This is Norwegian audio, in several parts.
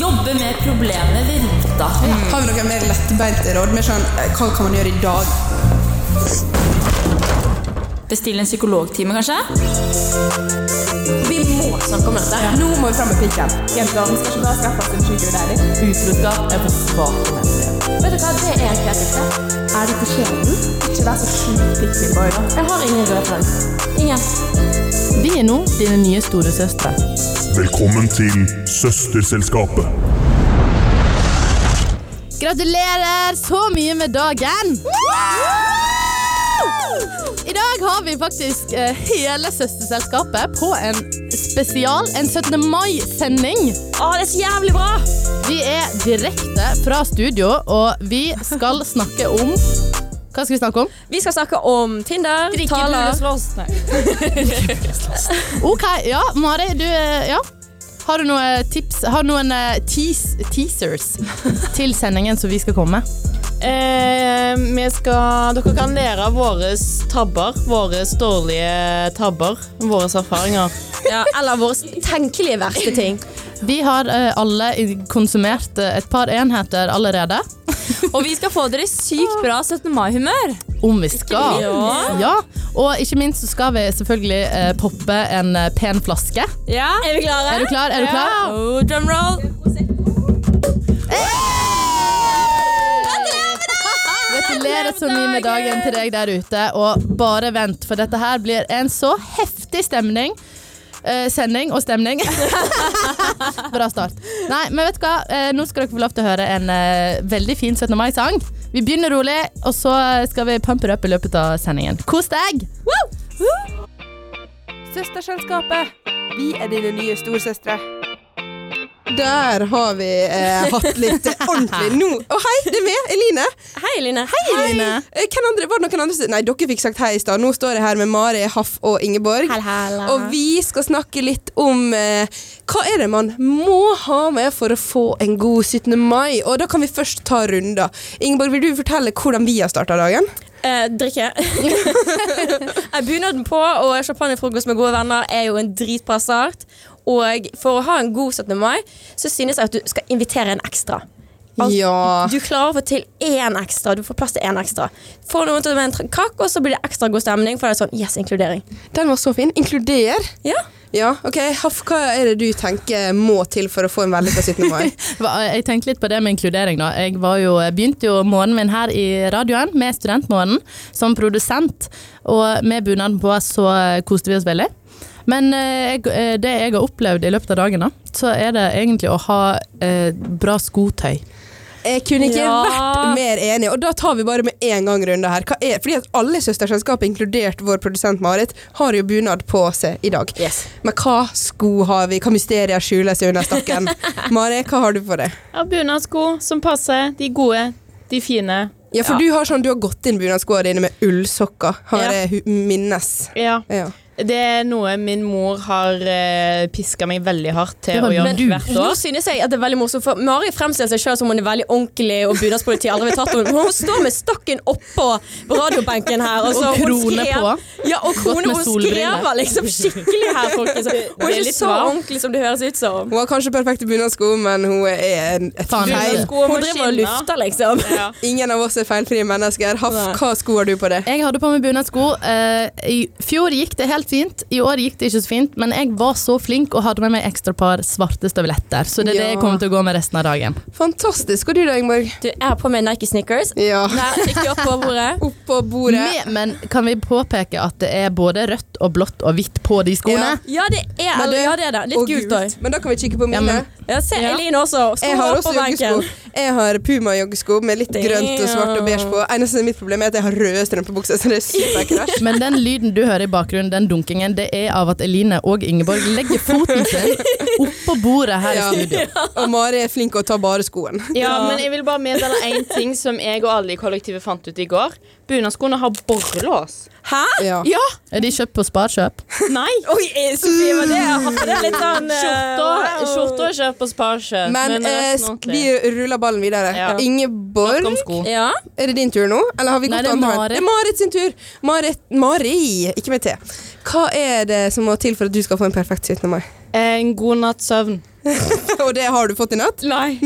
Jobbe med problemet ved rota. Har vi noen mer lettbeinte råd? Mer sånn, eh, hva kan man gjøre i dag? Bestille en psykologtime, kanskje? Vi må snakke om dette. Nå må vi fram med pikken. Jenter, vi skal ikke bare skaffe oss en sykehjullærer. Utroskap er for svakt menneske. Vet du hva, det er helt riktig. Er det for sent? Ikke vær så sjuk pikkboy, da. Jeg har ingen rød flagg. Ingen. Vi er nå dine nye storesøstre. Velkommen til Søsterselskapet. Gratulerer så mye med dagen! I dag har vi faktisk eh, hele søsterselskapet på en spesial, en 17. mai-sending. Å, det er så jævlig bra! Vi er direkte fra studio, og vi skal snakke om Hva skal vi snakke om? Vi skal snakke om Tinder, taler OK, ja, Mari, du eh, Ja. Har du noen tips? Har du noen eh, teas teasers til sendingen som vi skal komme med? Eh, vi skal, dere kan lære av våre tabber, våre dårlige tabber, våre erfaringer. ja, Eller våre tenkelige verste ting. Vi har eh, alle i- konsumert eh, et par enheter allerede. Og vi skal få dere sykt bra 17. mai-humør. Om vi skal. minst. Ja. Og ikke minst så skal vi selvfølgelig eh, poppe en eh, pen flaske. Ja. Er vi klare? Er du klar? Er du klar? Oh, drum roll. Gratulerer så mye med dagen til deg der ute, og bare vent, for dette her blir en så heftig stemning. Eh, sending og stemning. Bra start. Nei, men vet du hva? Eh, nå skal dere få lov til å høre en eh, veldig fin 17. mai-sang. Vi begynner rolig, og så skal vi pumpe det opp i løpet av sendingen. Kos deg! Søsterselskapet. Vi er dine nye storsøstre. Der har vi eh, hatt litt ordentlig nå. Å, hei, det er meg, Eline. Hei, Line. Hei. Eh, Hvem andre, var det noen andre som Nei, dere fikk sagt hei i stad. Nå står jeg her med Mari, Haff og Ingeborg. Hei, hei. Og vi skal snakke litt om eh, hva er det man må ha med for å få en god 17. mai. Og da kan vi først ta runder. Ingeborg, vil du fortelle hvordan vi har starta dagen? Eh, drikke. jeg Bunaden på og champagnefrokost med gode venner er jo en dritbra start. Og for å ha en god 17. mai, så synes jeg at du skal invitere en ekstra. Alt- Ja. Du klarer å få til én ekstra. Du får plass til én ekstra. Få noen til å ta med en tra- kakk, og så blir det ekstra god stemning. For det er sånn, yes, inkludering. Den var så fin. Inkluder. Ja. Ja, ok. Haff, hva er det du tenker må til for å få en vellykka 17. mai? Hva- Jeg tenkte litt på det med inkludering. da. Jeg var jo, begynte jo morgenen min her i radioen med Studentmorgen som produsent, og med bunaden på så koste vi oss veldig. Men eh, jeg, eh, det jeg har opplevd i løpet av dagen, da, så er det egentlig å ha eh, bra skotøy. Jeg kunne ikke Ja. vært mer enig, og da tar vi bare med en gang runde her. Hva er, fordi at alle søsterselskap, inkludert vår produsent Marit, har jo bunad på seg i dag. Yes. Men hva sko har vi? Hva mysterier skjuler seg under stakken? Mari, hva har du på deg? Ja, Bunadsko som passer, de gode, de fine. Ja, for du har sånn, du har gått inn bunadskoene dine med ullsokker, har Ja. jeg hu- minnes. Ja. Ja. Det er noe min mor har eh, piska meg veldig hardt til å gjøre hvert Nå år. synes jeg at det er veldig morsomt, for Mari fremstiller seg selv som hun er veldig ordentlig og bunadspoliti aldri vil tatt henne. Men Hun står med stakken oppå radiobenken her. Og, så Og hun krone skrev- på. Ja, og Godt med krone. Hun solbriller. skrever liksom skikkelig her, folkens. Hun det er er ikke litt så bra. ordentlig som det høres ut som. Hun har kanskje perfekte bunadsko, men hun er en- et Faen, feil. Bunadsko. Hun driver og lufter, liksom. Ja. Ingen av oss er feilfrie mennesker. Haff, Nei. hva sko har du på deg? Jeg hadde på meg bunadsko. Eh, I fjor gikk det helt fint, i år gikk det ikke så fint, men jeg var så flink og hadde med meg ekstra par svarte støvletter, så det er det jeg Ja. kommer til å gå med resten av dagen. Fantastisk. Og du da, Ingeborg? Du er på med Nike sneakers. Ja. Der, ikke opp på bordet. Opp på bordet. Med, men kan vi påpeke at det er både rødt og blått og hvitt på de skoene? Ja, det er, Men du- ja, det, er det. Litt og gult òg. Men da kan vi kikke på mine. men- Ja, se Ja. Eline også. Sko jeg har opp også på benken. joggesko. Jeg har Puma-joggesko med litt Damn. grønt og svart og beige på. Eneste mitt problem er at jeg har røde strømpebukser, så det er superkrasj. Men den lyden du hører i bakgrunnen, den dunkingen, det er av at Eline og Ingeborg legger foten sin oppå bordet her Ja. i studio. Og Mari er flink å ta bare skoen. Ja, men jeg vil bare meddele én ting som jeg og alle i kollektivet fant ut i går. Bunadskoene har borrelås. Hæ? Ja. Ja! Er de kjøpt på Sparkjøp? Nei! Oi, eh, Sofie, var det, hadde det litt sånn eh, Skjorta wow. skjorta er kjøpt på Sparkjøp. Men, eh, resten ordentlig. vi ruller ballen videre. Ja. Ingeborg, Om sko. Ja. er det din tur nå? Eller har vi Nei, gått det er andre veien? Marit. Det er Marit sin tur. Marit, Mari, ikke med T. Hva er det som må til for at du skal få en perfekt 17. mai? En Eh, god natts søvn. Og det har du fått i natt? Nei.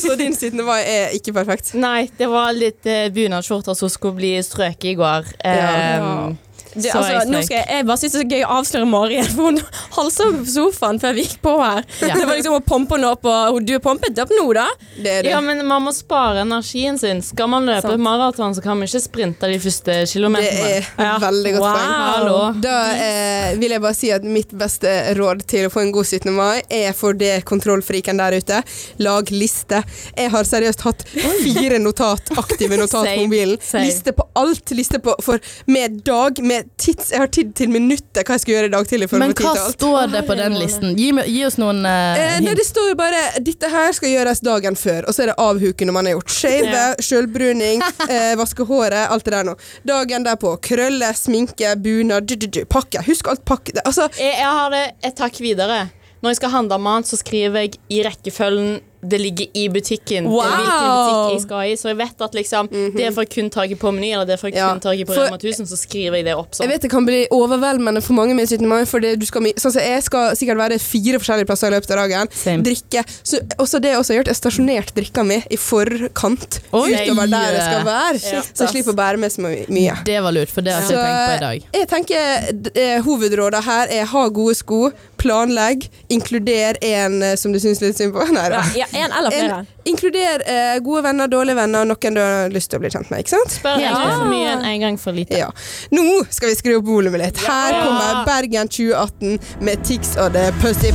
Så din 17. mai er ikke perfekt. Nei, det var litt eh, bunadsskjorter som skulle bli strøket i går. Eh, Ja. Det, Så jeg altså, strøk. nå skal jeg, jeg bare synes det er så gøy å avsløre Mari igjen, for hun halsa på sofaen før vi gikk på her. Ja. Det var liksom å pumpe henne opp, og du er pumpet opp nå, da. Det er det. Ja, men man må spare energien sin. Skal man løpe Sant. maraton, så kan man ikke sprinte de første Det kilometerne. er veldig godt Wow. poeng. Hallo. Da eh, vil jeg bare si at mitt beste råd til å få en god 17. mai er for det kontrollfriken der ute. Lag liste. Jeg har seriøst hatt fire notat, aktive notat på Same, mobilen. same. Liste på alt. Liste på for med dag, med tids Jeg har tid til minuttet hva jeg skal gjøre i dag tidlig for Men å få tid hva til alt. står det på den listen? Gi, meg- gi oss noen eh, Eh, nei, hint. det står bare 'dette her skal gjøres dagen før', og så er det avhuke når man har gjort shave, sjølbruning, eh, vaske håret, alt det der nå. Dagen derpå krølle, sminke, bunad, du, du, du, pakke. Husk alt pakke det- Altså, Jeg, jeg har det et takk videre. Når jeg skal handle mat, så skriver jeg i rekkefølgen det ligger i butikken. Wow. Hvilken butikk jeg skal i. Så jeg vet at liksom, det er for kun taket på Meny eller det er for Ja. kun taket på For- Rema 1000, så skriver jeg det opp jeg sånn. vet det kan bli overveldende for mange med 17. mai, for det du skal, mi- sånn som jeg skal sikkert være fire forskjellige plasser i løpet av dagen. Same. Drikke. Så, også det jeg også har gjort, jeg har stasjonert drikka mi i forkant Oi. utover der jeg skal være, så jeg slipper å bære med så my- mye. Det var lurt, for det har jeg Så ikke tenkt på i dag. jeg tenker d- eh, hovedrådet her er ha gode sko, planlegg, inkluder en eh, som du syns litt synd på. Nei, da. Ja, ja, en eller flere. En, inkluder eh, gode venner, dårlige venner og noen du har lyst til å bli kjent med. ikke sant? Bare en Ja. gang for mye enn en gang for lite. Ja. Nå skal vi skru opp volumet litt. Her kommer Bergen 2018 med Tix og The Pussy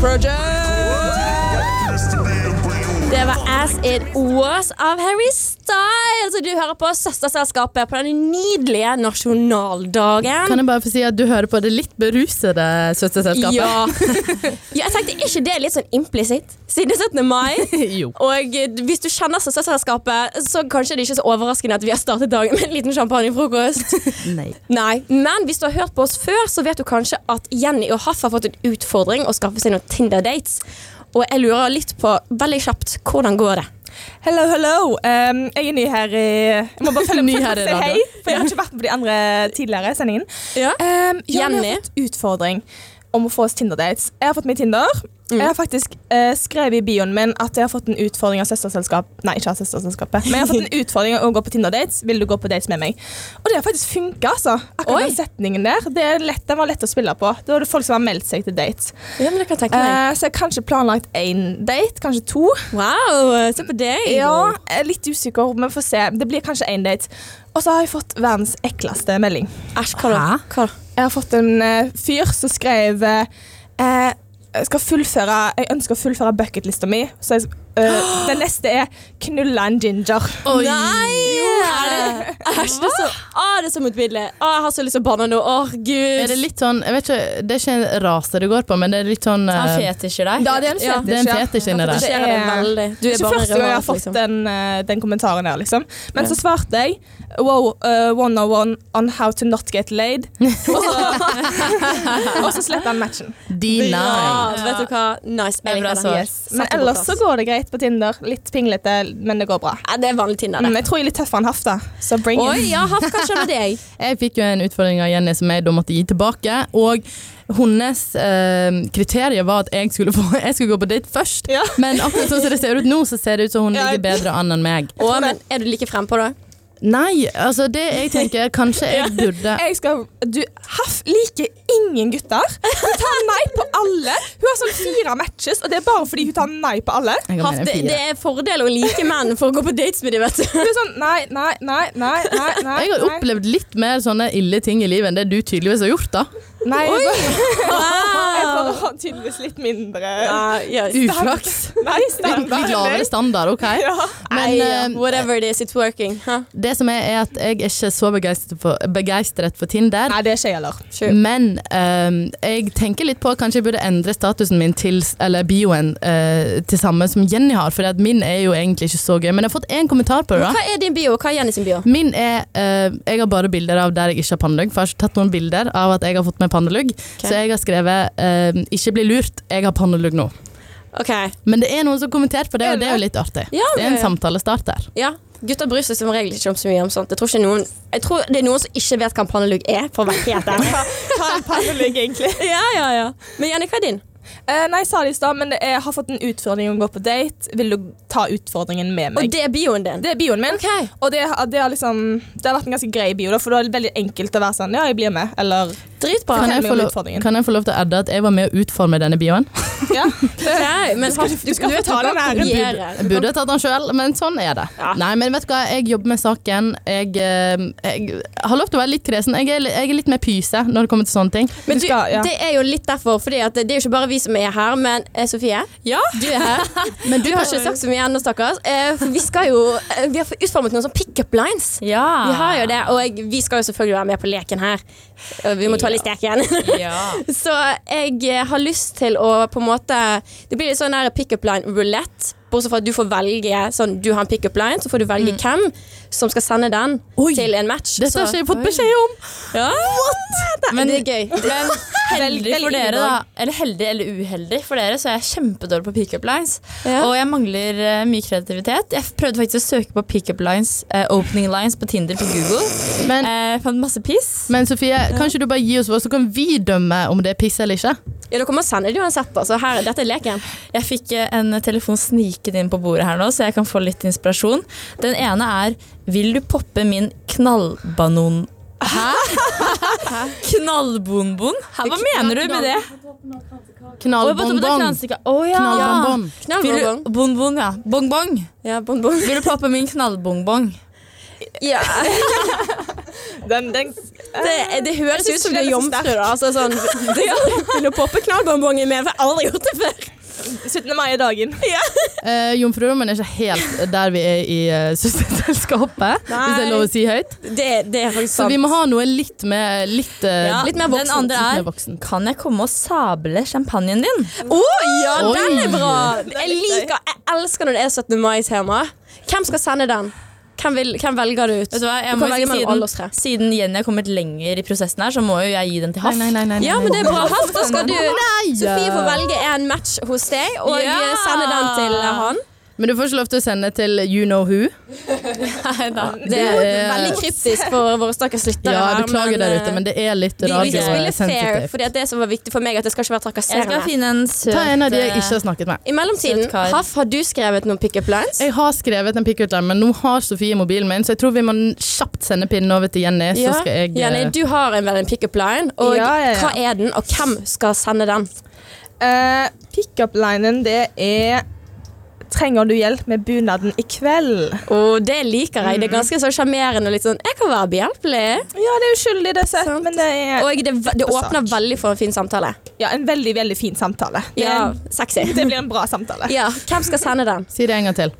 Project. Det var As It Was av Harry Styles. Og du hører på Søsterselskapet på den nydelige nasjonaldagen. Kan jeg bare få si at du hører på det litt berusede søsterselskapet? Ja. ja, jeg tenkte er ikke det er litt sånn implisitt, siden det er 17. mai. jo. Og eh, hvis du kjenner Søsterselskapet, så kanskje det ikke er så overraskende at vi har startet dagen med en liten champagnefrokost. Nei. Nei, men hvis du har hørt på oss før, så vet du kanskje at Jenny og Haff har fått en utfordring å skaffe seg noen Tinder-dates. Og jeg lurer litt på, veldig kjapt, hvordan går det? Hello, hello. Um, jeg er ny her i Jeg må bare følge Ny først her i si radio. hei, for jeg har ikke vært med på de andre tidligere i sendingen. Ja. Um, ja, men Jenny? Jeg har fått utfordring om å få oss Tinder-dates. Jeg har fått meg Tinder. Jeg har faktisk eh, skrevet i bioen min at jeg har fått en utfordring av søsterselskap Nei, ikke av søsterselskapet, men jeg har fått en utfordring om å gå på Tinder-dates. Vil du gå på dates med meg? Og det har faktisk funka, altså. Oi. Akkurat den setningen der. Det er lett, den var lett å spille på. Da var det folk som har meldt seg til dates. Ja, men det kan jeg tenke meg. Eh, så jeg har kanskje planlagt én date, kanskje to. Eh, Wow, se på deg. Ja, jeg er litt usikker, men får se. Det blir kanskje én date. Og så har jeg fått verdens ekleste melding. Æsj, hva da? Hva da? Jeg har fått en eh, fyr som skrev eh, eh, jeg, skal fullføre, jeg ønsker å fullføre bucketlista mi. Så jeg, eh, den neste er 'knulle en ginger'. Oi. Nei! Æsj, det er så, ah, det er så motbydelig. Ah, jeg har så lyst til å banne nå. Åh, gud. Er det litt sånn jeg vet ikke, Det er ikke en rase det går på, men det er litt sånn eh, fetisjer deg? Ja, det er en Ja, det er en fetisj inni Ja, der. det skjer det er- veldig. Du Det er ikke første gang jeg har fått den, eh, den kommentaren her, liksom. Men så svarte jeg wow, eh, 101 on how to not get laid. Og så, og så sletta han matchen. D9. Ja, vet du hva? Nice. Jeg liker det. Yes. Men ellers så går det greit på Tinder. Litt pinglete, men det går bra. Ja, det er vanlig Tinder, Mm, det. jeg tror jeg er litt tøffere enn Haff, da. Så bring Oi, it. ja, Haff, hva skjer med deg? Jeg fikk jo en utfordring av Jenny som jeg da måtte gi tilbake. Og hennes eh, kriterier var at jeg skulle, få, jeg skulle gå på date først. Ja. Men akkurat sånn som det ser ut nå, så ser det ut som hun Ja. ligger bedre an enn meg. Å, men er du like frempå, da? Nei, altså det jeg tenker Kanskje jeg burde Jeg skal, du, Haff liker ingen gutter. Hun tar nei på alle. Hun har sånn fire matches, og det er bare fordi hun tar nei på alle. Jeg har Haff, mer enn det, det fire. er fordel å like menn for å gå på dates med dem, vet du. Hun er sånn nei, nei, nei, nei, nei. nei Jeg har nei. opplevd litt mer sånne ille ting i livet enn det du tydeligvis har gjort, da. Nei, jeg bare, jeg Wow. bare har tydeligvis litt mindre Ja, yes. Uflaks. Nei, Litt standard. lavere standard, OK? Ja. Men eh, Whatever it is, it's working. Huh? det som er, er at jeg er ikke så begeistret for, begeistret for Tinder. Nei, det er ikke jeg heller. Men ehm, jeg tenker litt på at kanskje jeg burde endre statusen min til, eller bioen eh, til samme som Jenny har, for min er jo egentlig ikke så gøy. Men jeg har fått én kommentar på det. da. Hva er din bio? Hva er Jenny sin bio? Min er eh, Jeg har bare bilder av der jeg ikke har pannelugg. For jeg har ikke tatt noen bilder av at jeg har fått meg pannelugg. Så jeg har skrevet eh, 'Ikke bli lurt, jeg har pannelugg nå'. Ok, Men det er noen som har kommentert på det, og det er jo litt artig. Ja, Det er ja, en ja. samtalestart der. ja. Gutter bryr seg som regel ikke om så mye om sånt. Jeg tror, ikke noen, jeg tror det er noen som ikke vet hva en pannelugg er, for å være helt ærlig. Ta en pannelugg, egentlig. ja, ja, ja. Men Jenny, hva er din? Eh, nei, jeg sa det i stad, men det er, jeg har fått en utfordring om å gå på date. Vil du ta utfordringen med meg? Og det er bioen din. Det er bioen min. Ok. Og det, har- det, har liksom, det har vært en ganske grei bio, da, for da er det veldig enkelt å være sånn Ja, jeg blir med. Eller Dritbra. Kan Kan jeg, få meg om lov, utfordringen. kan jeg få lov til å adde at jeg var med å utforme denne bioen? ja. Ok, men du, du, skal få ta den æren. Jeg burde tatt den sjøl, men sånn er det. Nei, men vet du hva, jeg jobber med saken. Jeg, eh, jeg har lov til å være litt kresen. Jeg er, jeg er litt mer pyse når det kommer til sånne ting. Men Du du, skal- ja. det er jo litt derfor, fordi at det er jo ikke bare vi som er her, men eh, Sofie, Ja. du er her. Men du har ikke sagt så mye ennå, stakkars. Eh, for vi skal jo eh, Vi har utformet noen sånn pickup lines. Ja. Vi har jo det, og vi skal jo selvfølgelig være med på leken her. Eh, Vi må ta litt stek igjen. så jeg eh, har lyst til å på en måte Det blir litt sånn der pickup line roulette. Bortsett fra at du får velge sånn, Du har en pickup line, så får du velge hvem som skal sende den Mm. Oi. til en match. Dette så, har ikke jeg fått beskjed om. Nei, Men- det er gøy. Men heldig veldig for dere, innhold. da. Eller heldig eller uheldig for dere, så jeg er kjempedårlig på pickup lines. Ja. Og jeg mangler eh, mye kreativitet. Jeg prøvde faktisk å søke på pickup lines, eh, opening lines på Tinder på Google. Men- Eh, fant masse piss. Men Sofie, kan ikke du bare gi oss vår, så kan vi dømme om det er piss eller ikke? Ja, dere må sende det uansett. Altså, her, dette er leken. Jeg fikk eh, en telefon sniket inn på bordet her nå, så jeg kan få litt inspirasjon. Den ene er Vil du poppe min knallbanon... Hæ? Knallbonbon? Hæ, Hva mener du med det? Å, jeg bare trodde det var Knallbonbon. kransekake. Å ja. Knallbonbon. Vil du- Knallbonbong. Bonbon, ja. Bongbong. Ja, bonbon. Vil du poppe min knallbongbong? Ja. Den, den, Det, det høres ut som du er jomfru. da. Altså, sånn, det, vil du poppe knallbonbongen min? For jeg har aldri gjort det før. 17. mai er dagen. Eh, Jomfrudommen er ikke helt der vi er i eh, søsterselskapet, hvis det er lov å si høyt. Det, det er faktisk Så sånn. vi sant. må ha noe litt mer litt, eh, Ja, Litt mer voksen. Den andre litt mer er voksent. Kan jeg komme og sable champagnen din? Å ja, Oi. den er bra! Jeg liker, jeg elsker når det er 17. mai-tema. Hvem skal sende den? Hvem, vil, hvem velger du ut? Vet du hva, jeg Du må kan si velge mellom alle oss tre. siden, siden Jenny har kommet lenger i prosessen her, så må jo jeg gi den til Haff. nei, nei. Ja, men det er bra. Haff, da skal du Nei! Sofie får velge en match hos deg, og Ja. eh, sende den til eh, han. Men du får ikke lov til å sende til you know who. Det er eh, veldig kryptisk for våre stakkars lyttere. Ja, her, beklager der eh, ute, men det er litt Vi, vi skal spille fair, radiosensitivt. for det som var viktig for meg, at det skal ikke være Jeg skal trakasserende. finne en søt Ta en av de eh, jeg ikke har snakket med. I mellomtiden, Søt kar. Haff, har du skrevet noen pick-up lines? Jeg har skrevet en pick-up der, men nå har Sofie mobilen min, så jeg tror vi må kjapt sende pinnen over til Jenny. Så skal jeg eh, Jenny, du har en, vel en pick-up line, og Ja, ja, ja. hva er den, og hvem skal sende den? Uh, Pickup-linen, det er Trenger du hjelp med bunaden i kveld? Og det liker jeg. Det Mhm. er ganske så sjarmerende og litt sånn Jeg kan være behjelpelig. Ja, det er uskyldig, det sett, Sant. men det er Og det, det åpner veldig for en fin samtale. ja, en veldig, veldig fin samtale. Det, Ja, sexy. det blir en bra samtale. Ja, hvem skal sende den? Si det en gang til.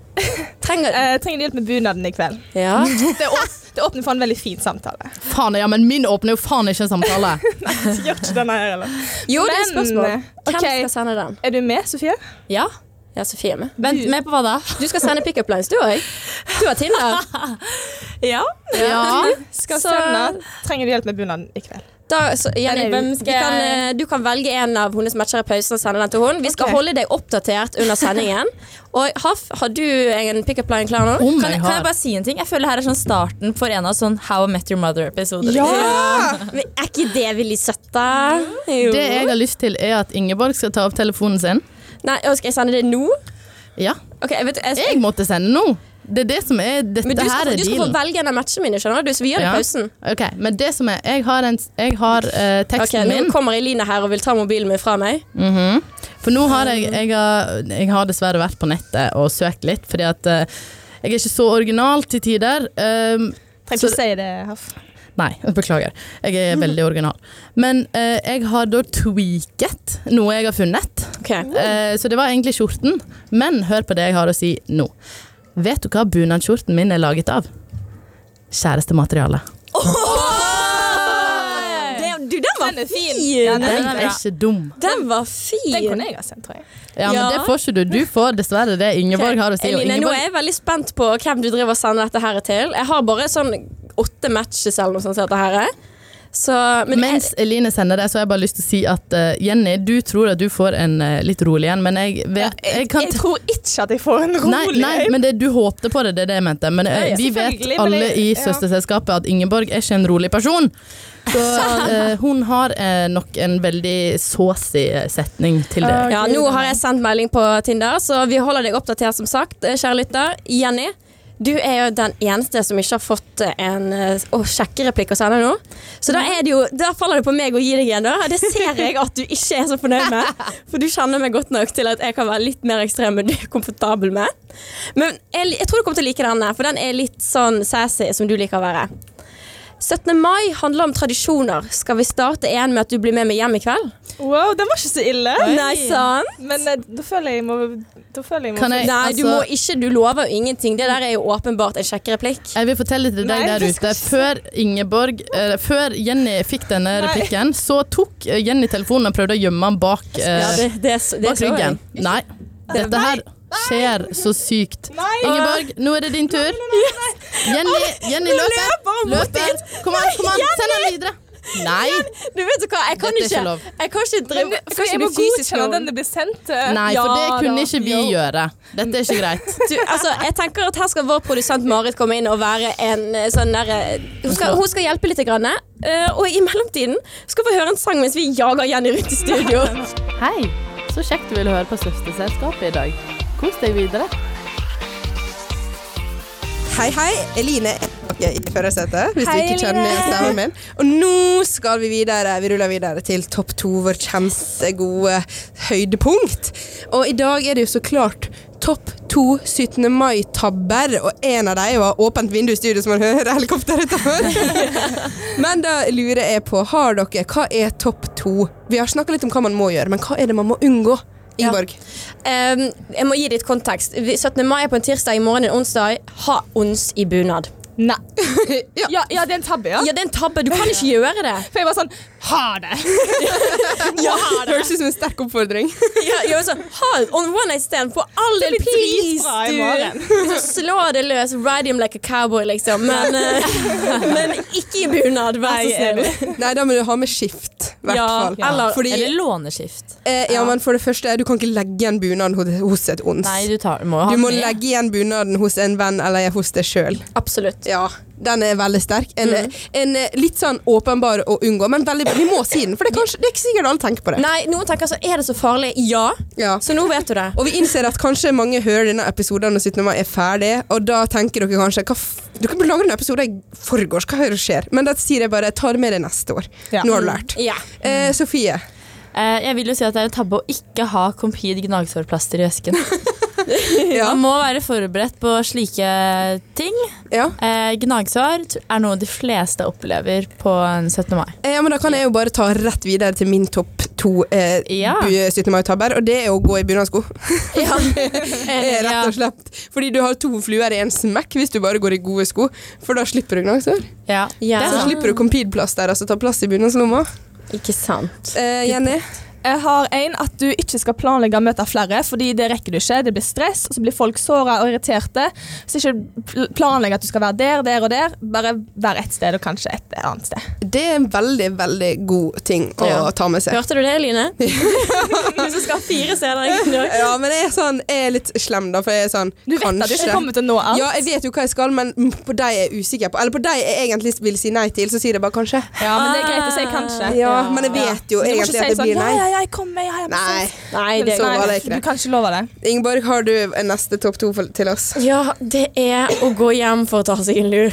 Trenger Eh, trenger du hjelp med bunaden i kveld? Ja. Det, åp det åpner for en veldig fin samtale. Faen, ja, men min åpner jo faen ikke en samtale. Gjør ikke denne her, eller? Jo, det er et Men, spørsmål. Hvem ok. skal sende den? Er du med, Sofie? Ja. Ja, Sofie er med. Vent, med på hva da? Du skal sende pick-up lines, du òg. Du har Tinder. Ja. Ja. Skal Så- sende. Trenger du hjelp med bunaden i kveld? Da, så, Jenny, Eller hvem vi skal kan, jeg- eh, du kan velge en av hennes matcher i pausen og sende den til henne. Vi skal Ok. holde deg oppdatert under sendingen. Og Haff, har du en pickup line klar nå? Om Kan, jeg kan jeg har. bare si en ting? Jeg føler her er sånn starten for en av sånn How I Met Your Mother-episoder. Men er ikke det veldig søtt, da? Jo. Det jeg har lyst til, er at Ingeborg skal ta opp telefonen sin. Nei, og skal jeg sende det nå? Ja. Ok, jeg vet, jeg, Jeg måtte sende nå. Det er det som er Dette men du skal, her få- er du skal få dealen. velge en av matchene mine, skjønner du, så vi gjør det i Ja. pausen. Ok, men det som er Jeg har, en, jeg har eh, Ok, teksten Nå min. kommer Eline her og vil ta mobilen min fra meg. Mhm. For nå har jeg jeg har, jeg har dessverre vært på nettet og søkt litt, fordi at eh, jeg er ikke så original til tider. Um, Trenger ikke å si det, Haff. nei, beklager. Jeg er veldig original. Men eh, jeg har da tweaket noe jeg har funnet. Ok, Eh, så det var egentlig skjorten. Men hør på det jeg har å si nå. Vet du hva bunadsskjorten min er laget av? Kjærestemateriale. Det, du, den var fin! Den er ikke dum. Den var fin! Den kunne jeg ha sendt, tror jeg. Ja, men Ja. det får ikke du. Du får dessverre det Ingeborg har å si. Og Eline, nå er Ingeborg, jeg veldig spent på hvem du driver og sender dette her til. Jeg har bare sånn åtte matches eller noe sånt. som Dette her. Så, men jeg, Mens Eline sender det, så har jeg bare lyst til å si at eh, Jenny, du tror at du får en eh, litt rolig en, men jeg vet Jeg, kan Jeg tror ikke at jeg får en Nei, rolig nei, men det, du håpte på det, det er det jeg mente. Men eh, Nei, vi vet selvfølgelig, men alle jeg- i ja. søsterselskapet at Ingeborg er ikke en rolig person. Så eh, hun har eh, nok en veldig saucy eh, setning til det. Ok, ja, nå har jeg sendt melding på Tinder, så vi holder deg oppdatert, som sagt. eh, Kjære lytter. Jenny, du er jo den eneste som ikke har fått eh, en eh, å, sjekkereplikk å sende nå. Så da, er det jo, da faller det på meg å gi deg en, da. Det ser jeg at du ikke er så fornøyd med. For du kjenner meg godt nok til at jeg kan være litt mer ekstrem enn du er komfortabel med. Men jeg, jeg tror du kommer til å like denne, for den er litt sånn sassy som du liker å være. 17. mai handler om tradisjoner. Skal vi starte en med at du blir med meg hjem i kveld? Wow, den var ikke så ille. Nei, sant? Men eh, da føler jeg må, da føler jeg må Kan jeg- Nei, du altså- må ikke. Du lover jo ingenting. Det der er jo åpenbart en sjekkereplikk. Jeg vil fortelle til deg Nei, der det skal ute. Før Ingeborg eh, Før Jenny fikk denne replikken, så tok eh, Jenny telefonen og prøvde å gjemme den bak, eh, Ja, det, det, er så- det er bak så- ryggen. Nei. Dette her skjer så sykt. Nei! Ingeborg, nå er det din tur. Jenny, Jenny løper. løper. Kom an, kom an. send den videre. Nei. Du vet hva, jeg Dette kan er ikke ikke lov. Jeg kan ikke drive Men, jeg for kan ikke jeg må bli fysisk godkjenne med at den henne. det blir sendt. eh. Nei, for det kunne ikke vi Jo. gjøre. Dette er ikke greit. Du, altså, jeg tenker at Her skal vår produsent Marit komme inn og være en eh, sånn derre hun, skal- hun skal hjelpe litt. Grann, eh, og i mellomtiden skal vi høre en sang mens vi jager Jenny rundt i studio. Hei, så kjekt du ville høre på Søsterselskapet i dag. Kos deg videre. Hei, hei. Eline er tilbake i førersetet, hvis Hei, du ikke kjenner Eline. stemmen min. Og nå skal vi videre. Vi ruller videre til topp to, vår kjempegode høydepunkt. Og i dag er det jo så klart topp to 17. mai-tabber, og en av dem var åpent vindu i studio, så man hører helikopteret utenfor. Men da lurer jeg på, har dere, hva er topp to? Vi har snakka litt om hva man må gjøre, men hva er det man må unngå? Ingeborg. Em, Ehm, jeg må gi litt kontekst. Vi- 17. mai er på en tirsdag, i morgen er en onsdag. Ha ons i bunad. Nei. ja. Ja, det er en tabbe, Ah. ja. Ja, det er en tabbe. Du kan ikke gjøre det. For jeg var sånn Ha det! Høres ut som en sterk oppfordring. Ja, jeg var sånn, ha on one night stand for all del, blir please, dritbra i morgen. du. Så slå det løs, ride him like a cowboy, liksom. Men, eh, men ikke i bunad, vær så snill. Nei, da må du ha med skift, i hvert Ja, fall. eller- Fordi, Eller låneskift. eh, ja, men for det første, du kan ikke legge igjen bunaden hos- hos et ons. Nei, du tar, må ha du må den i. legge igjen bunaden hos en venn eller hos deg sjøl. Absolutt. Ja, den er veldig sterk. En, en eh, litt sånn åpenbar å unngå, men veldig, vi må si den, for det er, kanskje, det er ikke sikkert alle tenker på det. Nei, noen tenker så er det så farlig. Ja, Ja. så nå vet du det. Og vi innser at kanskje mange hører denne episoden når 17. mai er ferdig, og da tenker dere kanskje hva f Dere burde lage en episode i forgårs, hva er det som skjer? Men da sier jeg bare ta det med deg neste år. Ja. Nå har du lært. Ja. Mm. Eh, Sofie. Eh, jeg vil jo si at det er en tabbe å ikke ha Compede gnagsårplaster i esken. Ja. Man må være forberedt på slike ting. ja. Eh, gnagsår t- er noe de fleste opplever på en 17. mai. Eh, Ja, men Da kan jeg jo bare ta rett videre til min topp to eh, Ja. bu- 17. mai-tabber, og det er å gå i bunadsko. Ja. Eh, Rett og slett. Fordi du har to fluer i en smekk hvis du bare går i gode sko, for da slipper du gnagsår. Ja. Ja. Det er Så sant. slipper du Compede-plass der, altså ta plass i bunadslomma. Ikke sant. Eh, Jenny? Jeg har en at du ikke skal planlegge å møte flere, fordi det rekker du ikke. Det blir stress, og så blir folk såra og irriterte. Så ikke pl- planlegg at du skal være der, der og der. Bare vær ett sted, og kanskje et annet sted. Det er en veldig, veldig god ting å Ja. ta med seg. Hørte du det, Eline? Du som skal ha fire steder. ikke sant? Ja, men jeg er, sånn, jeg er litt slem, da, for jeg er sånn Du vet at du ikke kommer til å nå alt. Ja, jeg vet jo hva jeg skal, men på de jeg er usikker på, eller på de jeg egentlig vil si nei til, så sier jeg bare kanskje. Ja, men det er greit å si kanskje. Ja, men jeg vet jo Du må ikke egentlig si at det sånn blir Ja, nei. ja, ja, jeg kommer, ja, sånn, ja, men Nei. så- Nei, det Så går var det ikke Du det. kan ikke love det. Ingeborg, har du en neste topp to for- til oss? Ja, det er å gå hjem for å ta seg en lur.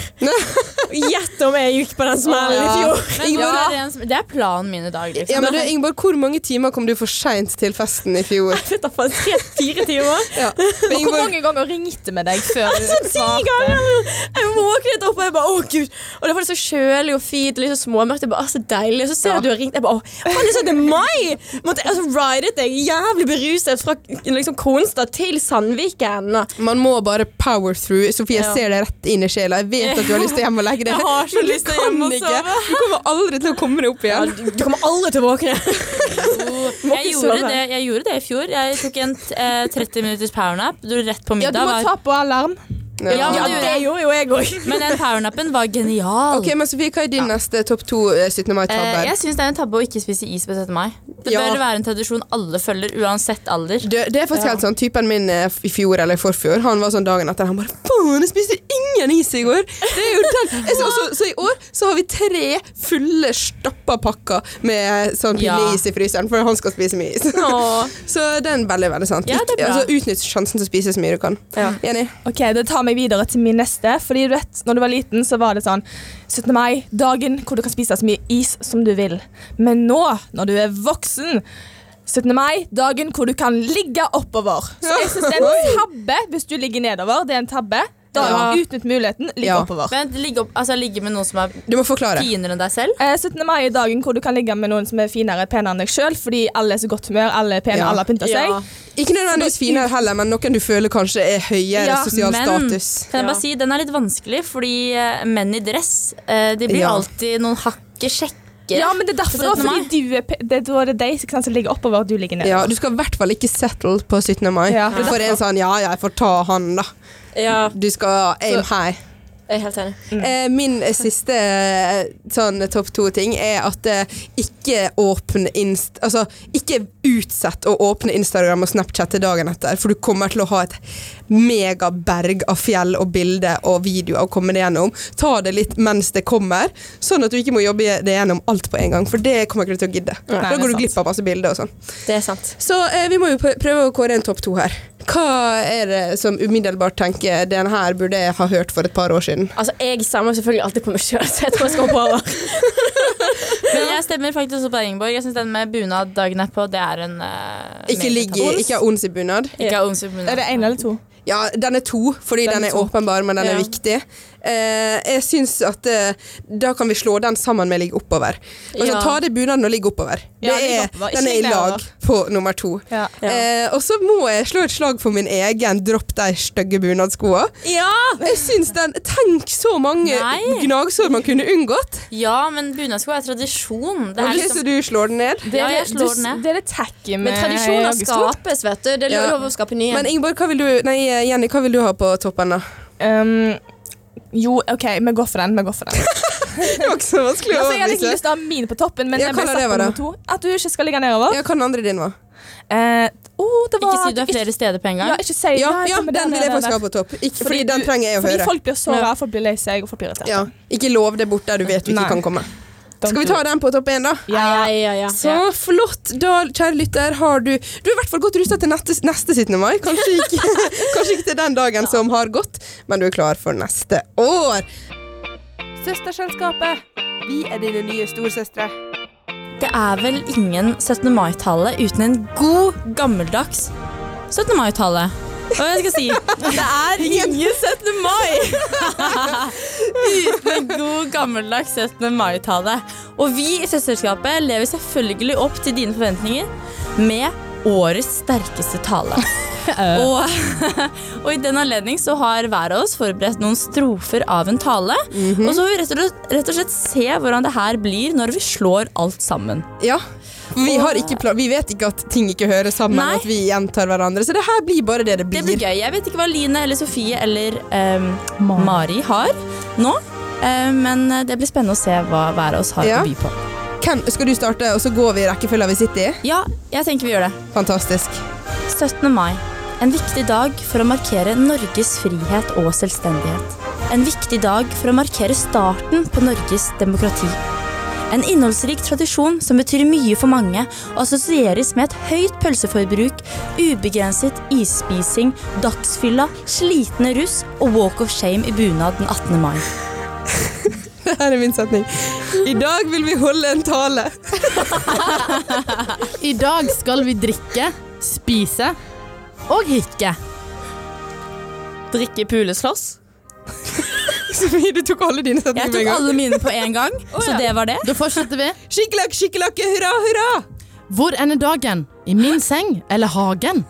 Gjett om jeg gikk på den smellen i fjor. Men Ingeborg, det, er en, som- det er planen min i dag. Liksom. Ja, men du, Ingeborg, hvor mange timer kom du for seint til festen i fjor? Det tar faen tre-fire timer. Ja. Men Hvor Ingeborg, mange ganger ringte vi deg før du Altså, Ti ganger! Jeg våknet opp og jeg bare, å gud Og da var det så kjølig og fint, litt så småmørkt. Det bare, «Å, så deilig. Og så ser jeg at du har ringt. Jeg bare, å, faen, det er 17. mai! Måtte, altså, ridet jeg jævlig beruset fra liksom, Konstad til Sandviken. Og man må bare power through. Sofie, jeg ser deg rett inn i sjela. Jeg vet at du har lyst til å hjem og legge deg. Jeg har så Men du lyst til å kan hjem og ikke. sove. Du kommer aldri til å komme deg opp igjen. du, du kommer aldri til å våkne. Jeg gjorde, det, jeg gjorde det i fjor. Jeg tok en eh, 30 minutters powernap, dro rett på Ja, du middag. må var- ta på alarm. Ja, men du- det gjorde jo jeg òg. Men den powernappen var genial. Ok, men Sofie, Hva er din neste topp to eh, 17. Eh, mai-tabber? jeg syns det er en tabbe å ikke spise is på 17. mai. Det Ja. bør være en tradisjon alle følger, uansett alder. Det, det er faktisk helt sånn, Typen min eh, f- i fjor eller i forfjor Han var sånn dagen etter. Han bare 'Faen, jeg spiste ingen is i går!' Det er jo den. Jeg, så, så, så i år så har vi tre fulle stappa pakker med sånn Ja. pilleis i fryseren, for han skal spise mye is. så det er en veldig veldig sant. Ja, det er bra. altså, Utnytt sjansen til å spise så mye du kan. Enig? Ok, Det tar meg videre til min neste. Fordi du vet, når du var liten, så var det sånn 17. mai, dagen hvor du kan spise så mye is som du vil. Men nå, når du er voksen 17. mai, dagen hvor du kan ligge oppover. Så jeg synes det er en tabbe hvis du ligger nedover. Det er en tabbe. Da Ja. Utnytt muligheten, ligg Ja. oppover. Men ligge, opp, altså, ligge med noen som er Du må forklare. finere enn deg selv. Eh, 17. mai er dagen hvor du kan ligge med noen som er finere penere enn deg sjøl, fordi alle er så godt humør, alle er pene, Ja. alle har Altså, pynta seg. Ja. Ikke nødvendigvis finere heller, men noen du føler kanskje er høyere Ja, sosial men status. kan jeg bare si, den er litt vanskelig, fordi eh, menn i dress eh, De blir Ja. alltid noen hakket kjekkere. Ja, men det er derfor, da, 17. mai. fordi du er, pe- det, da er det deg ikke sant, som ligger oppover, og du ligger nede. Ja, du skal i hvert fall ikke settle på 17. mai. Ja. Du får en sånn 'ja, jeg får ta han', da. Ja, Du skal aim high. jeg er helt enig. Eh, min eh, siste eh, sånn topp to-ting er at eh, ikke åpne inst... Altså, ikke utsett å åpne Instagram og Snapchat til dagen etter, for du kommer til å ha et megaberg av fjell og bilder og videoer å komme deg gjennom. Ta det litt mens det kommer, sånn at du ikke må jobbe deg gjennom alt på en gang, for det kommer jeg ikke til å gidde. da det er går du sant. glipp av masse bilder og sånn. Det er sant. Så eh, vi må jo pr- prøve å kåre en topp to her. Hva er det som umiddelbart tenker den her burde jeg ha hørt for et par år siden? Altså, Jeg stemmer selvfølgelig alltid på meg sjøl, så jeg tror jeg skal hoppe over. Men jeg stemmer faktisk også på deg, Ingeborg. Jeg synes Den med bunad dagen er på, det er en eh, Ikke meget ligge, tabbe. ikke ha ons i bunad. Ikke ha ons i bunad. Er det én eller to? Ja, den er to, fordi den, Den er er to. åpenbar, men den er Ja. viktig. Eh, jeg syns at eh, da kan vi slå den sammen med ligg oppover. Altså Ja. ta det bunaden og ligg oppover. Ja, Det ligg er, oppover, ikke Den er i ligg lag nedover. på nummer to. Ja. Eh, og så må jeg slå et slag for min egen 'dropp de stygge bunadskoa'. Ja! Jeg syns den Tenk så mange Nei. gnagsår man kunne unngått! Ja, men bunadsko er tradisjon. Det Og er det liksom så du slår den ned. Ja, jeg litt- slår du- den ned. Det er litt tacky med Men tradisjoner joggesko. skapes, vet du. Det er Ja. lov å skape nye. Men Ingeborg, hva vil du, nei, Jenny, hva vil du ha på toppen? da? Um, jo, OK, vi går for den. Vi går for den. Det var ikke så vanskelig å altså, jeg hadde ikke overbevise. lyst til å ha min på toppen, men Ja, jeg hva ble er satt det, på Vera? nummer to. At du ikke skal ligge nedover. Ja, hva den andre din var? Eh, oh, det var Ikke si du er flere steder på en gang. Ja, ikke si Ja, Nei, ja men den vil jeg den- faktisk ha på topp. Ikke, fordi, Fordi den du- trenger jeg å Fordi høre. folk blir såra, folk blir lei seg, og folk blir irritert. Ja. Ikke lov det bort der du vet du ikke Nei. kan komme. Skal vi ta den på topp én, da? ja, ja, ja, ja. Så flott! Da, kjære lytter, har du Du er i hvert fall godt rusta til neste, neste 17. mai. Kanskje ikke, kanskje ikke til den dagen som har gått, men du er klar for neste år. Søsterselskapet, vi er dine nye storsøstre. Det er vel ingen 17. mai-tale uten en god, gammeldags 17. mai-tale. Hva er det jeg skal si? Det er ingen 17. mai uten en god, gammeldags 17. mai-tale. Og vi i Søsterskapet lever selvfølgelig opp til dine forventninger med årets sterkeste tale. Og, og i den anledning så har hver av oss forberedt noen strofer av en tale. Og så får vi rett og, slett, rett og slett se hvordan det her blir når vi slår alt sammen. Ja. Vi, har ikke pla vi vet ikke at ting ikke hører sammen, Nei. at vi gjentar hverandre. Så det her blir bare det det blir. Det blir gøy. Jeg vet ikke hva Line eller Sofie eller ehm, Mari har nå. eh, men det blir spennende å se hva hver av oss har Ja. å by på. Hvem, skal du starte, og så går vi i rekkefølgen vi sitter i? Ja, jeg tenker vi gjør det. Fantastisk. 17. mai. En viktig dag for å markere Norges frihet og selvstendighet. En viktig dag for å markere starten på Norges demokrati. En innholdsrik tradisjon som betyr mye for mange, og assosieres med et høyt pølseforbruk, ubegrenset isspising, dagsfylla, slitne russ og walk of shame i bunad den 18. mai. Det her er min setning. I dag vil vi holde en tale. I dag skal vi drikke, spise og hikke. Drikke puleslåss. Sofie, du tok alle dine setninger Jeg på en tok gang. alle mine på en gang, så det var det. Da fortsetter vi. Skikkelakke, skikkelakke, hurra, hurra! Hvor ender dagen? I min seng eller hagen?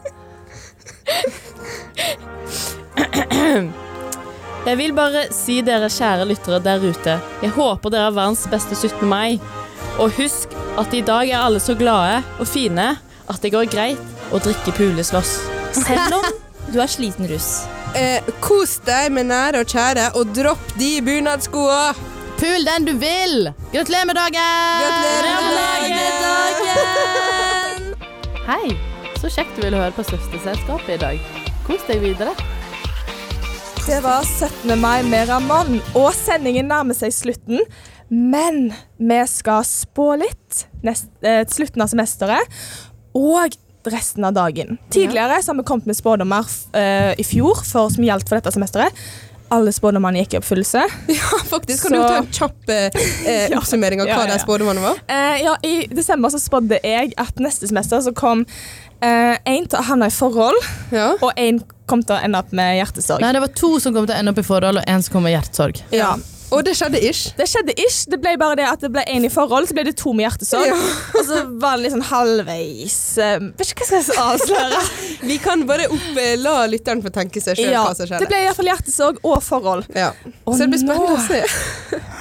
Jeg vil bare si dere kjære lyttere der ute, jeg håper dere har verdens beste 17. mai. Og husk at i dag er alle så glade og fine at det går greit å drikke puleslåss. Selv om du er sliten russ. Eh, kos deg med nære og kjære, og dropp de bunadsskoa! Pul den du vil! Gratulerer med dagen! Gratulerer med dagen! Hei! Så kjekt du ville høre på Søsterselskapet i dag. Kos deg videre. Det var 17. mai med Ramon, og sendingen nærmer seg slutten. Men vi skal spå litt nest, eh, til slutten av semesteret og resten av dagen. Tidligere så har vi kommet med spådommer f- eh, i fjor for, som gjaldt for dette semesteret. Alle spådommene gikk i oppfyllelse. Ja, faktisk. Kan du Så- ta en kjapp eh, eh, oppsummering av Ja, hva ja, ja. de spådommene var? Eh, ja, I desember så spådde jeg at neste semester så kom én til å havne i forhold, Ja. og én kom til å ende opp med hjertesorg. Nei, det var to som kom til å ende opp i forhold, og én som kom med hjertesorg. Ja. Og det skjedde ish. Det skjedde ikke. Det ble bare det at det ble én i forhold, så ble det to med hjertesorg. Og så var det litt sånn halvveis eh, Vet ikke hva jeg skal avsløre. Vi kan bare opp, eh, la lytteren få tenke seg sjøl ja, hva som det skjedde. ble iallfall hjertesorg og forhold. Ja. Å, Så det blir spennende nå. å se.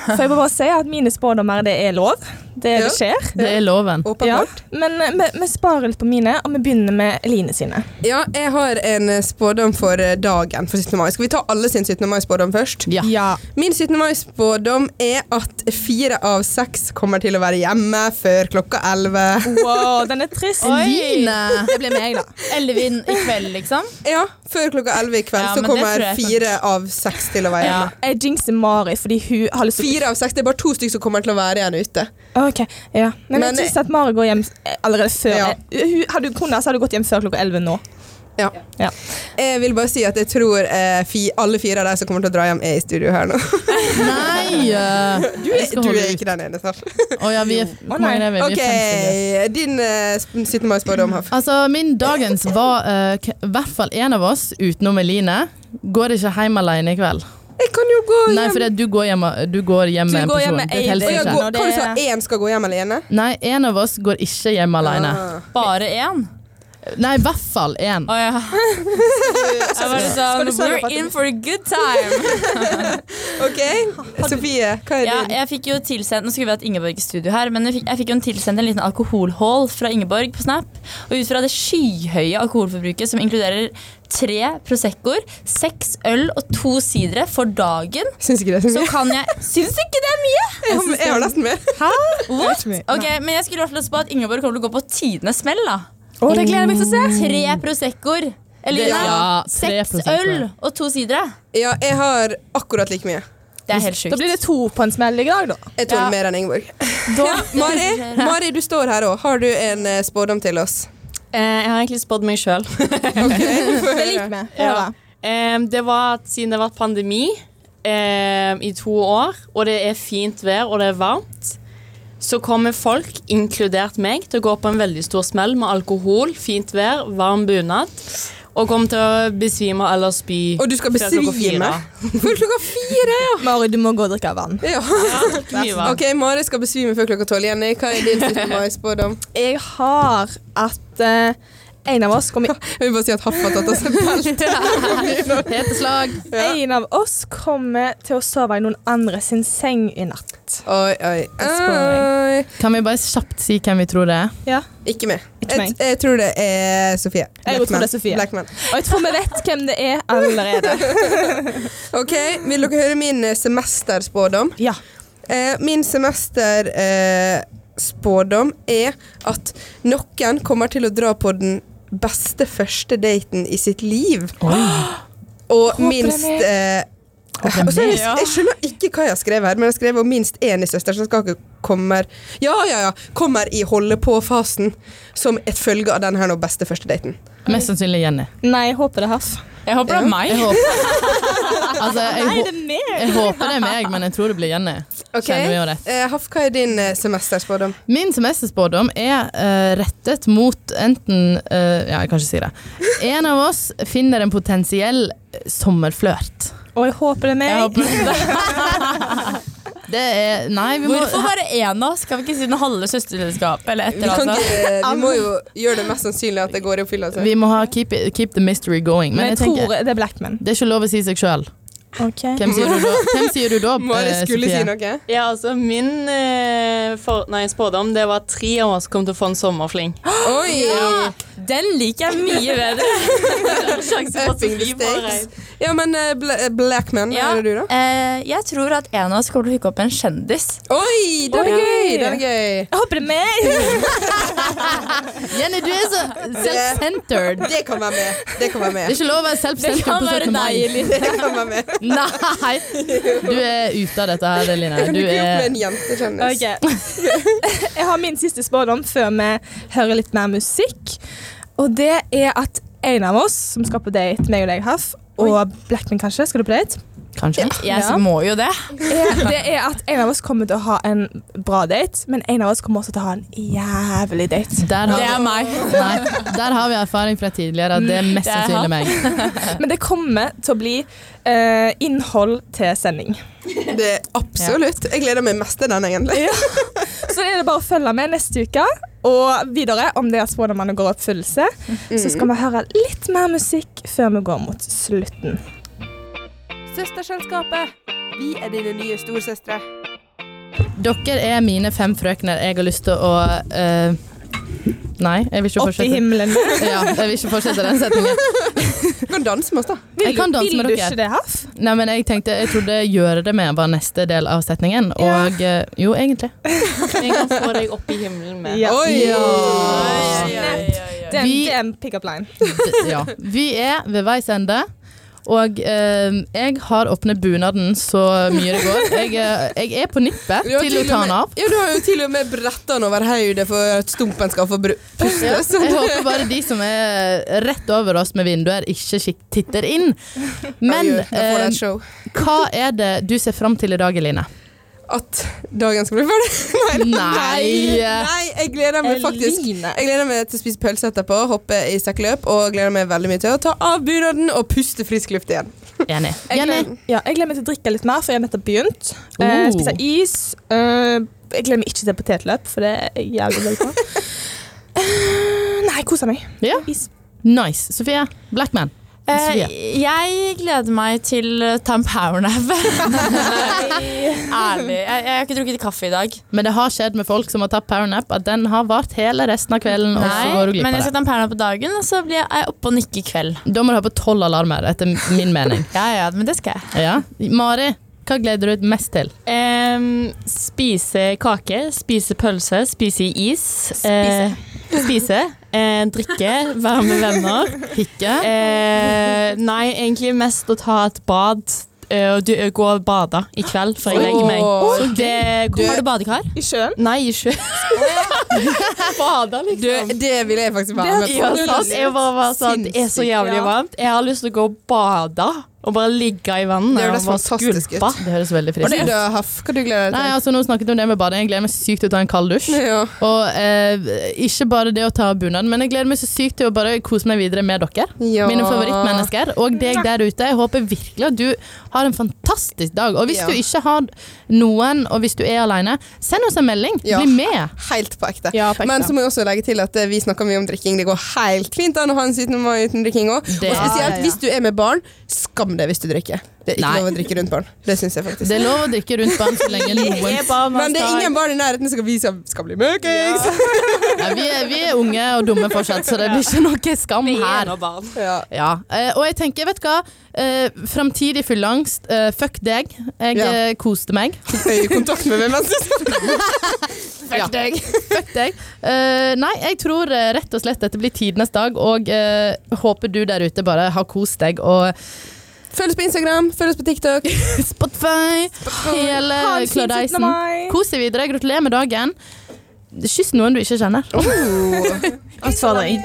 For jeg må bare si at mine spådommer, det er lov. Det, Ja. det skjer. Det er loven. Ja. Åpenbart. Men eh, vi, vi sparer litt på mine, og vi begynner med Eline sine. Ja, jeg har en eh, spådom for eh, dagen for 17. mai. Skal vi ta alle sin 17. mai-spådom først? Ja. Min 17. mai-spådom er at fire av seks kommer til å være hjemme før klokka 11. Wow, den er trist. Line! Det blir meg, da. Elvin i kveld, liksom. Ja, før klokka 11 i kveld Ja, så men det tror kommer jeg er sant. fire av seks til å være hjemme. Jeg jinxer Mari fordi hun har lyst til Fire av seks, Det er bare to stykker som kommer til å være igjen ute. Ok, ja. Men, Men- jeg synes at Mari går hjem eh, allerede før. Ja. eh, Hun, hadde hun kunnet, så hadde hun gått hjem før klokka 11 nå. Ja. Ja. Jeg vil bare si at jeg tror eh, fi, alle fire av de som kommer til å dra hjem, er i studio her nå. Nei! eh, Du jeg er, skal du holde er ut. ikke den ene, sant? Å ja, vi er, hvor mange er vi? vi Ok, er fem stykker. din eh, sp- 17. mai-spådom, Hav. Altså, min dagens var eh, k- i hvert fall en av oss, utenom Eline, går ikke hjem alene i kveld. Jeg kan jo gå hjem. Nei, for det, du går hjem, du går hjem med Du en går person. hjem med Det en- Å, teller ja, ikke. gå, Når det hva du sa er- én skal gå hjem alene? Nei, en av oss går ikke hjem alene. Ah. Bare én. Nei, i hvert fall én. Å ja. Jeg var litt sånn sørge for We're at in for a good time. Ok, Sofie, hva er Ja, din? jeg fikk jo tilsendt Nå skulle vi hatt Ingeborg i studio her, men jeg fikk, jeg fikk jo en tilsendt en liten alkoholhaul fra Ingeborg på Snap. Og ut fra det skyhøye alkoholforbruket, som inkluderer tre Proseccoer, seks øl og to sidere for dagen, Syns ikke det er så så mye. kan jeg Syns ikke det er mye! Jeg, har- jeg har nesten mer. What? Ok, Men jeg skulle i hvert fall spå at Ingeborg kommer til å gå på tidenes smell. da Å, det gleder jeg meg til å se. Tre Proseccoer. Eller Det- nei, ja, tre seks Proseccoer. øl og to sidere. Ja, jeg har akkurat like mye. Det er helt sjukt. Da blir det to på en smell i dag, da. Jeg tåler Ja. mer enn Ingeborg. Ja, Mari, Mari, du står her òg. Har du en eh, spådom til oss? Eh, jeg har egentlig spådd meg sjøl. Det liker vi. Hør da. det var at siden det har vært pandemi eh, i to år, og det er fint vær og det er varmt, så kommer folk, inkludert meg, til å gå på en veldig stor smell med alkohol, fint vær, varm bunad, og kommer til å besvime eller spy. Og du skal før klokka besvime? Før klokka fire, ja! Mari, du må gå og drikke vann. ja. fire. Mye varmt. Ok, Mari skal besvime før klokka tolv. Jenny, hva er din 17. mai-spådom? Jeg har at eh, en av oss kommer Jeg vil bare si at Haff har tatt oss en pelt. Heteslag. En av oss kommer til å sove i noen andre sin seng i natt. Oi, oi, oi. Spåring. Kan vi bare kjapt si hvem vi tror det er? Ja. Ikke meg. Ikke meg. Jeg, jeg tror det er Sofie. Jeg tror det er Sofie. Blackman. Og jeg tror vi vet hvem det er allerede. Ok, Vil dere høre min eh, semesterspådom? Ja. Eh, min semesterspådom eh, spådom er at noen kommer til å dra på den beste første daten i sitt liv. Og minst eh, og så er det, jeg skjønner ikke hva jeg har skrevet her, men jeg har skrevet om minst én i Søsterselskapet kommer Ja, ja, ja, kommer i holde-på-fasen som et følge av den her nå beste første daten. Mest sannsynlig Jenny. Nei, jeg håper det er Haff. Jeg håper det er meg. Jeg håper, altså, jeg, hå- er meg. jeg håper det er meg, men jeg tror det blir Jenny. Ok, Kjenner vi jo rett. eh, Haff, hva er din eh, semesterspådom? Min semesterspådom er eh, rettet mot enten eh, Ja, jeg kan ikke si det. En av oss finner en potensiell eh, sommerflørt. Og jeg håper det er meg. Det er Nei, vi må Hvorfor bare én av oss? Kan vi ikke si den halve søsterselskapet? Eller Vi, etter, kan altså? ikke, eh, vi må jo gjøre det mest sannsynlig at det går i oppfyllelse. Vi må ha keep, it, keep the mystery going. Men Men jeg jeg tror tenker, det er Blackman. det er ikke lov å si seg sjøl. Hvem sier du da? Hvem sier du da Mari eh, skulle si Sofie? noe. Ja, altså min eh, for, nei, spådom det var at tre av oss kom til å få en sommerfling. Oi! Den liker jeg mye bedre. Sjansen for at Upping the vi får stakes. en. Ja, men eh, bla Blackman, Ja, er det du, da? eh, jeg tror at en av oss kommer til å hooke opp med en kjendis. Oi, den er gøy! Den er gøy. Jeg håper det er meg! Jenny, du er så self-centered. Det kan være med. Det kan være Det er med. ikke lov å være self-centered på 17. mai. Det kan være med. Nei! Du er ute av dette her, Line. Kan du Du ikke jobbe med er en jentekjendis? Ok. jeg har min siste spådom før vi hører litt mer musikk. Og det er at en av oss som skal på date, meg og deg, Haff, og Blackman kanskje, skal du på date? Kanskje? Jeg Ja. må jo det. er, det er at en av oss kommer til å ha en bra date, men en av oss kommer også til å ha en jævlig date. Der har, meg. nei, der har vi erfaring fra tidligere. at Det er mest Det er han. sannsynlig meg. Men det kommer til å bli eh, innhold til sending. Det er absolutt. Jeg gleder meg mest til den, egentlig. Så er det bare å følge med neste uke og videre om det er spådommene går i oppfyllelse. Så Mm. skal vi høre litt mer musikk før vi går mot slutten. Søsterselskapet, vi er dine nye storsøstre. Dere er mine fem frøkner. Jeg har lyst til å eh, Nei, jeg vil ikke Opp i fortsette. himmelen. Ja, jeg vil ikke fortsette den setningen. Du kan danse med oss, da. Jeg kan danse med Vil du dere. ikke det, Haff? Nei, men jeg tenkte, jeg trodde 'gjøre det med' var neste del av setningen, og eh, jo, egentlig. Jeg kan få deg opp i himmelen med. Ja. Oi! Det er en- Vi- det er en pick-up line. D- Ja. Vi er ved veis ende, og eh, jeg har åpnet bunaden så mye det går. Jeg, eh, jeg er på nippet Du har til å ta og den med- av. Ja, du har jo til og med bretta den over hodet for at stumpen skal få bru- puste. Ja, så jeg det- håper bare de som er rett over oss med vinduer, ikke skikk- titter inn. Men Adjø, da får jeg eh, et show. hva er det du ser fram til i dag, Eline? At dagen skal bli ferdig. Nei. Nei, jeg gleder meg faktisk Jeg gleder meg til å spise pølse etterpå, hoppe i sekkeløp og gleder meg veldig mye til å ta av bunaden og puste frisk luft igjen. Enig. Jenny? gleder, ja, jeg gleder meg til å drikke litt mer, for jeg har nettopp begynt. Eh, Oh. spise is. Eh, jeg gleder meg ikke til potetløp, for det er jeg jævlig dårlig på. Eh, nei, koser meg. Ja. Is. Nice. Sofie? Blackman? Sofie. Eh, jeg gleder meg til eh, ta en powernap. Ærlig. Jeg, jeg har ikke drukket kaffe i dag. Men det har skjedd med folk som har tatt powernap, at den har vart hele resten av kvelden. og så går du Nei, glipp men av jeg det. skal ta en powernap på dagen, og så blir jeg jeg er oppe og nikker i kveld. Da må du ha på tolv alarmer, etter min mening. Ja, ja, men det skal jeg. Ja. Mari, hva gleder du deg mest til? Em, spise kake, spise pølse, spise is. Spise. spise. eh, drikke, være med venner. Hikke? Eh, nei, egentlig mest å ta et bad. eh, Og du, gå og bade i kveld før jeg legger meg. Åh. Så det, Du- har du badekar? I sjøen. Nei, ikke. Bade, liksom. Du, det vil jeg faktisk være med Ja, sant? Jeg bare var sånn, det er så jævlig Ja. varmt. Jeg har lyst til å gå og bade og bare ligge i vannet Det er jo det og bare fantastisk ut. skvulpe. Det høres veldig Og friskt det ut. da, Haff, hva du gleder Nei, deg altså Nå snakket vi om det med bading. Jeg gleder meg sykt til å ta en kald dusj. til? Ja. Og eh, ikke bare det å ta av bunaden, men jeg gleder meg så sykt til å bare kose meg videre med dere. Ja. Mine favorittmennesker. Og deg der ute. Jeg håper virkelig at du har en fantastisk dag. Og hvis Ja. du ikke har noen, og hvis du er alene, send oss en melding. Ja. Bli med. Helt på ekte. Ja, på ekte. Men så må jeg også legge til at eh, vi snakker mye om drikking. Det går helt fint an å ha en 17. mai uten drikking òg. Og Det- spesielt Ja, ja, ja. hvis du er med barn. Skam deg hvis du drikker. Det er ikke Nei. lov å drikke rundt barn. Det syns jeg faktisk. Det er lov å drikke rundt barn så lenge noen Men det er ingen barn i nærheten som vi som skal bli møkings. ja, vi, er, vi er unge og dumme fortsatt, så det blir ikke noe skam her. Ja. Ja, eh, og jeg tenker, vet du hva? Eh, Framtidig fullangst, eh, fuck deg. Jeg Ja. eh, koste meg. Øyekontakt med meg mens du Fuck deg. Fuck deg. Eh, nei, jeg tror eh, rett og slett dette blir tidenes dag, og eh, håper du der ute bare har kost deg og Følg oss på Instagram, følg oss på TikTok. Spotify, hele Ha en fin syttende klødeisen. mai. Kos deg videre. Gratulerer med dagen. Oh. Kyss noen du ikke kjenner. Utfordring.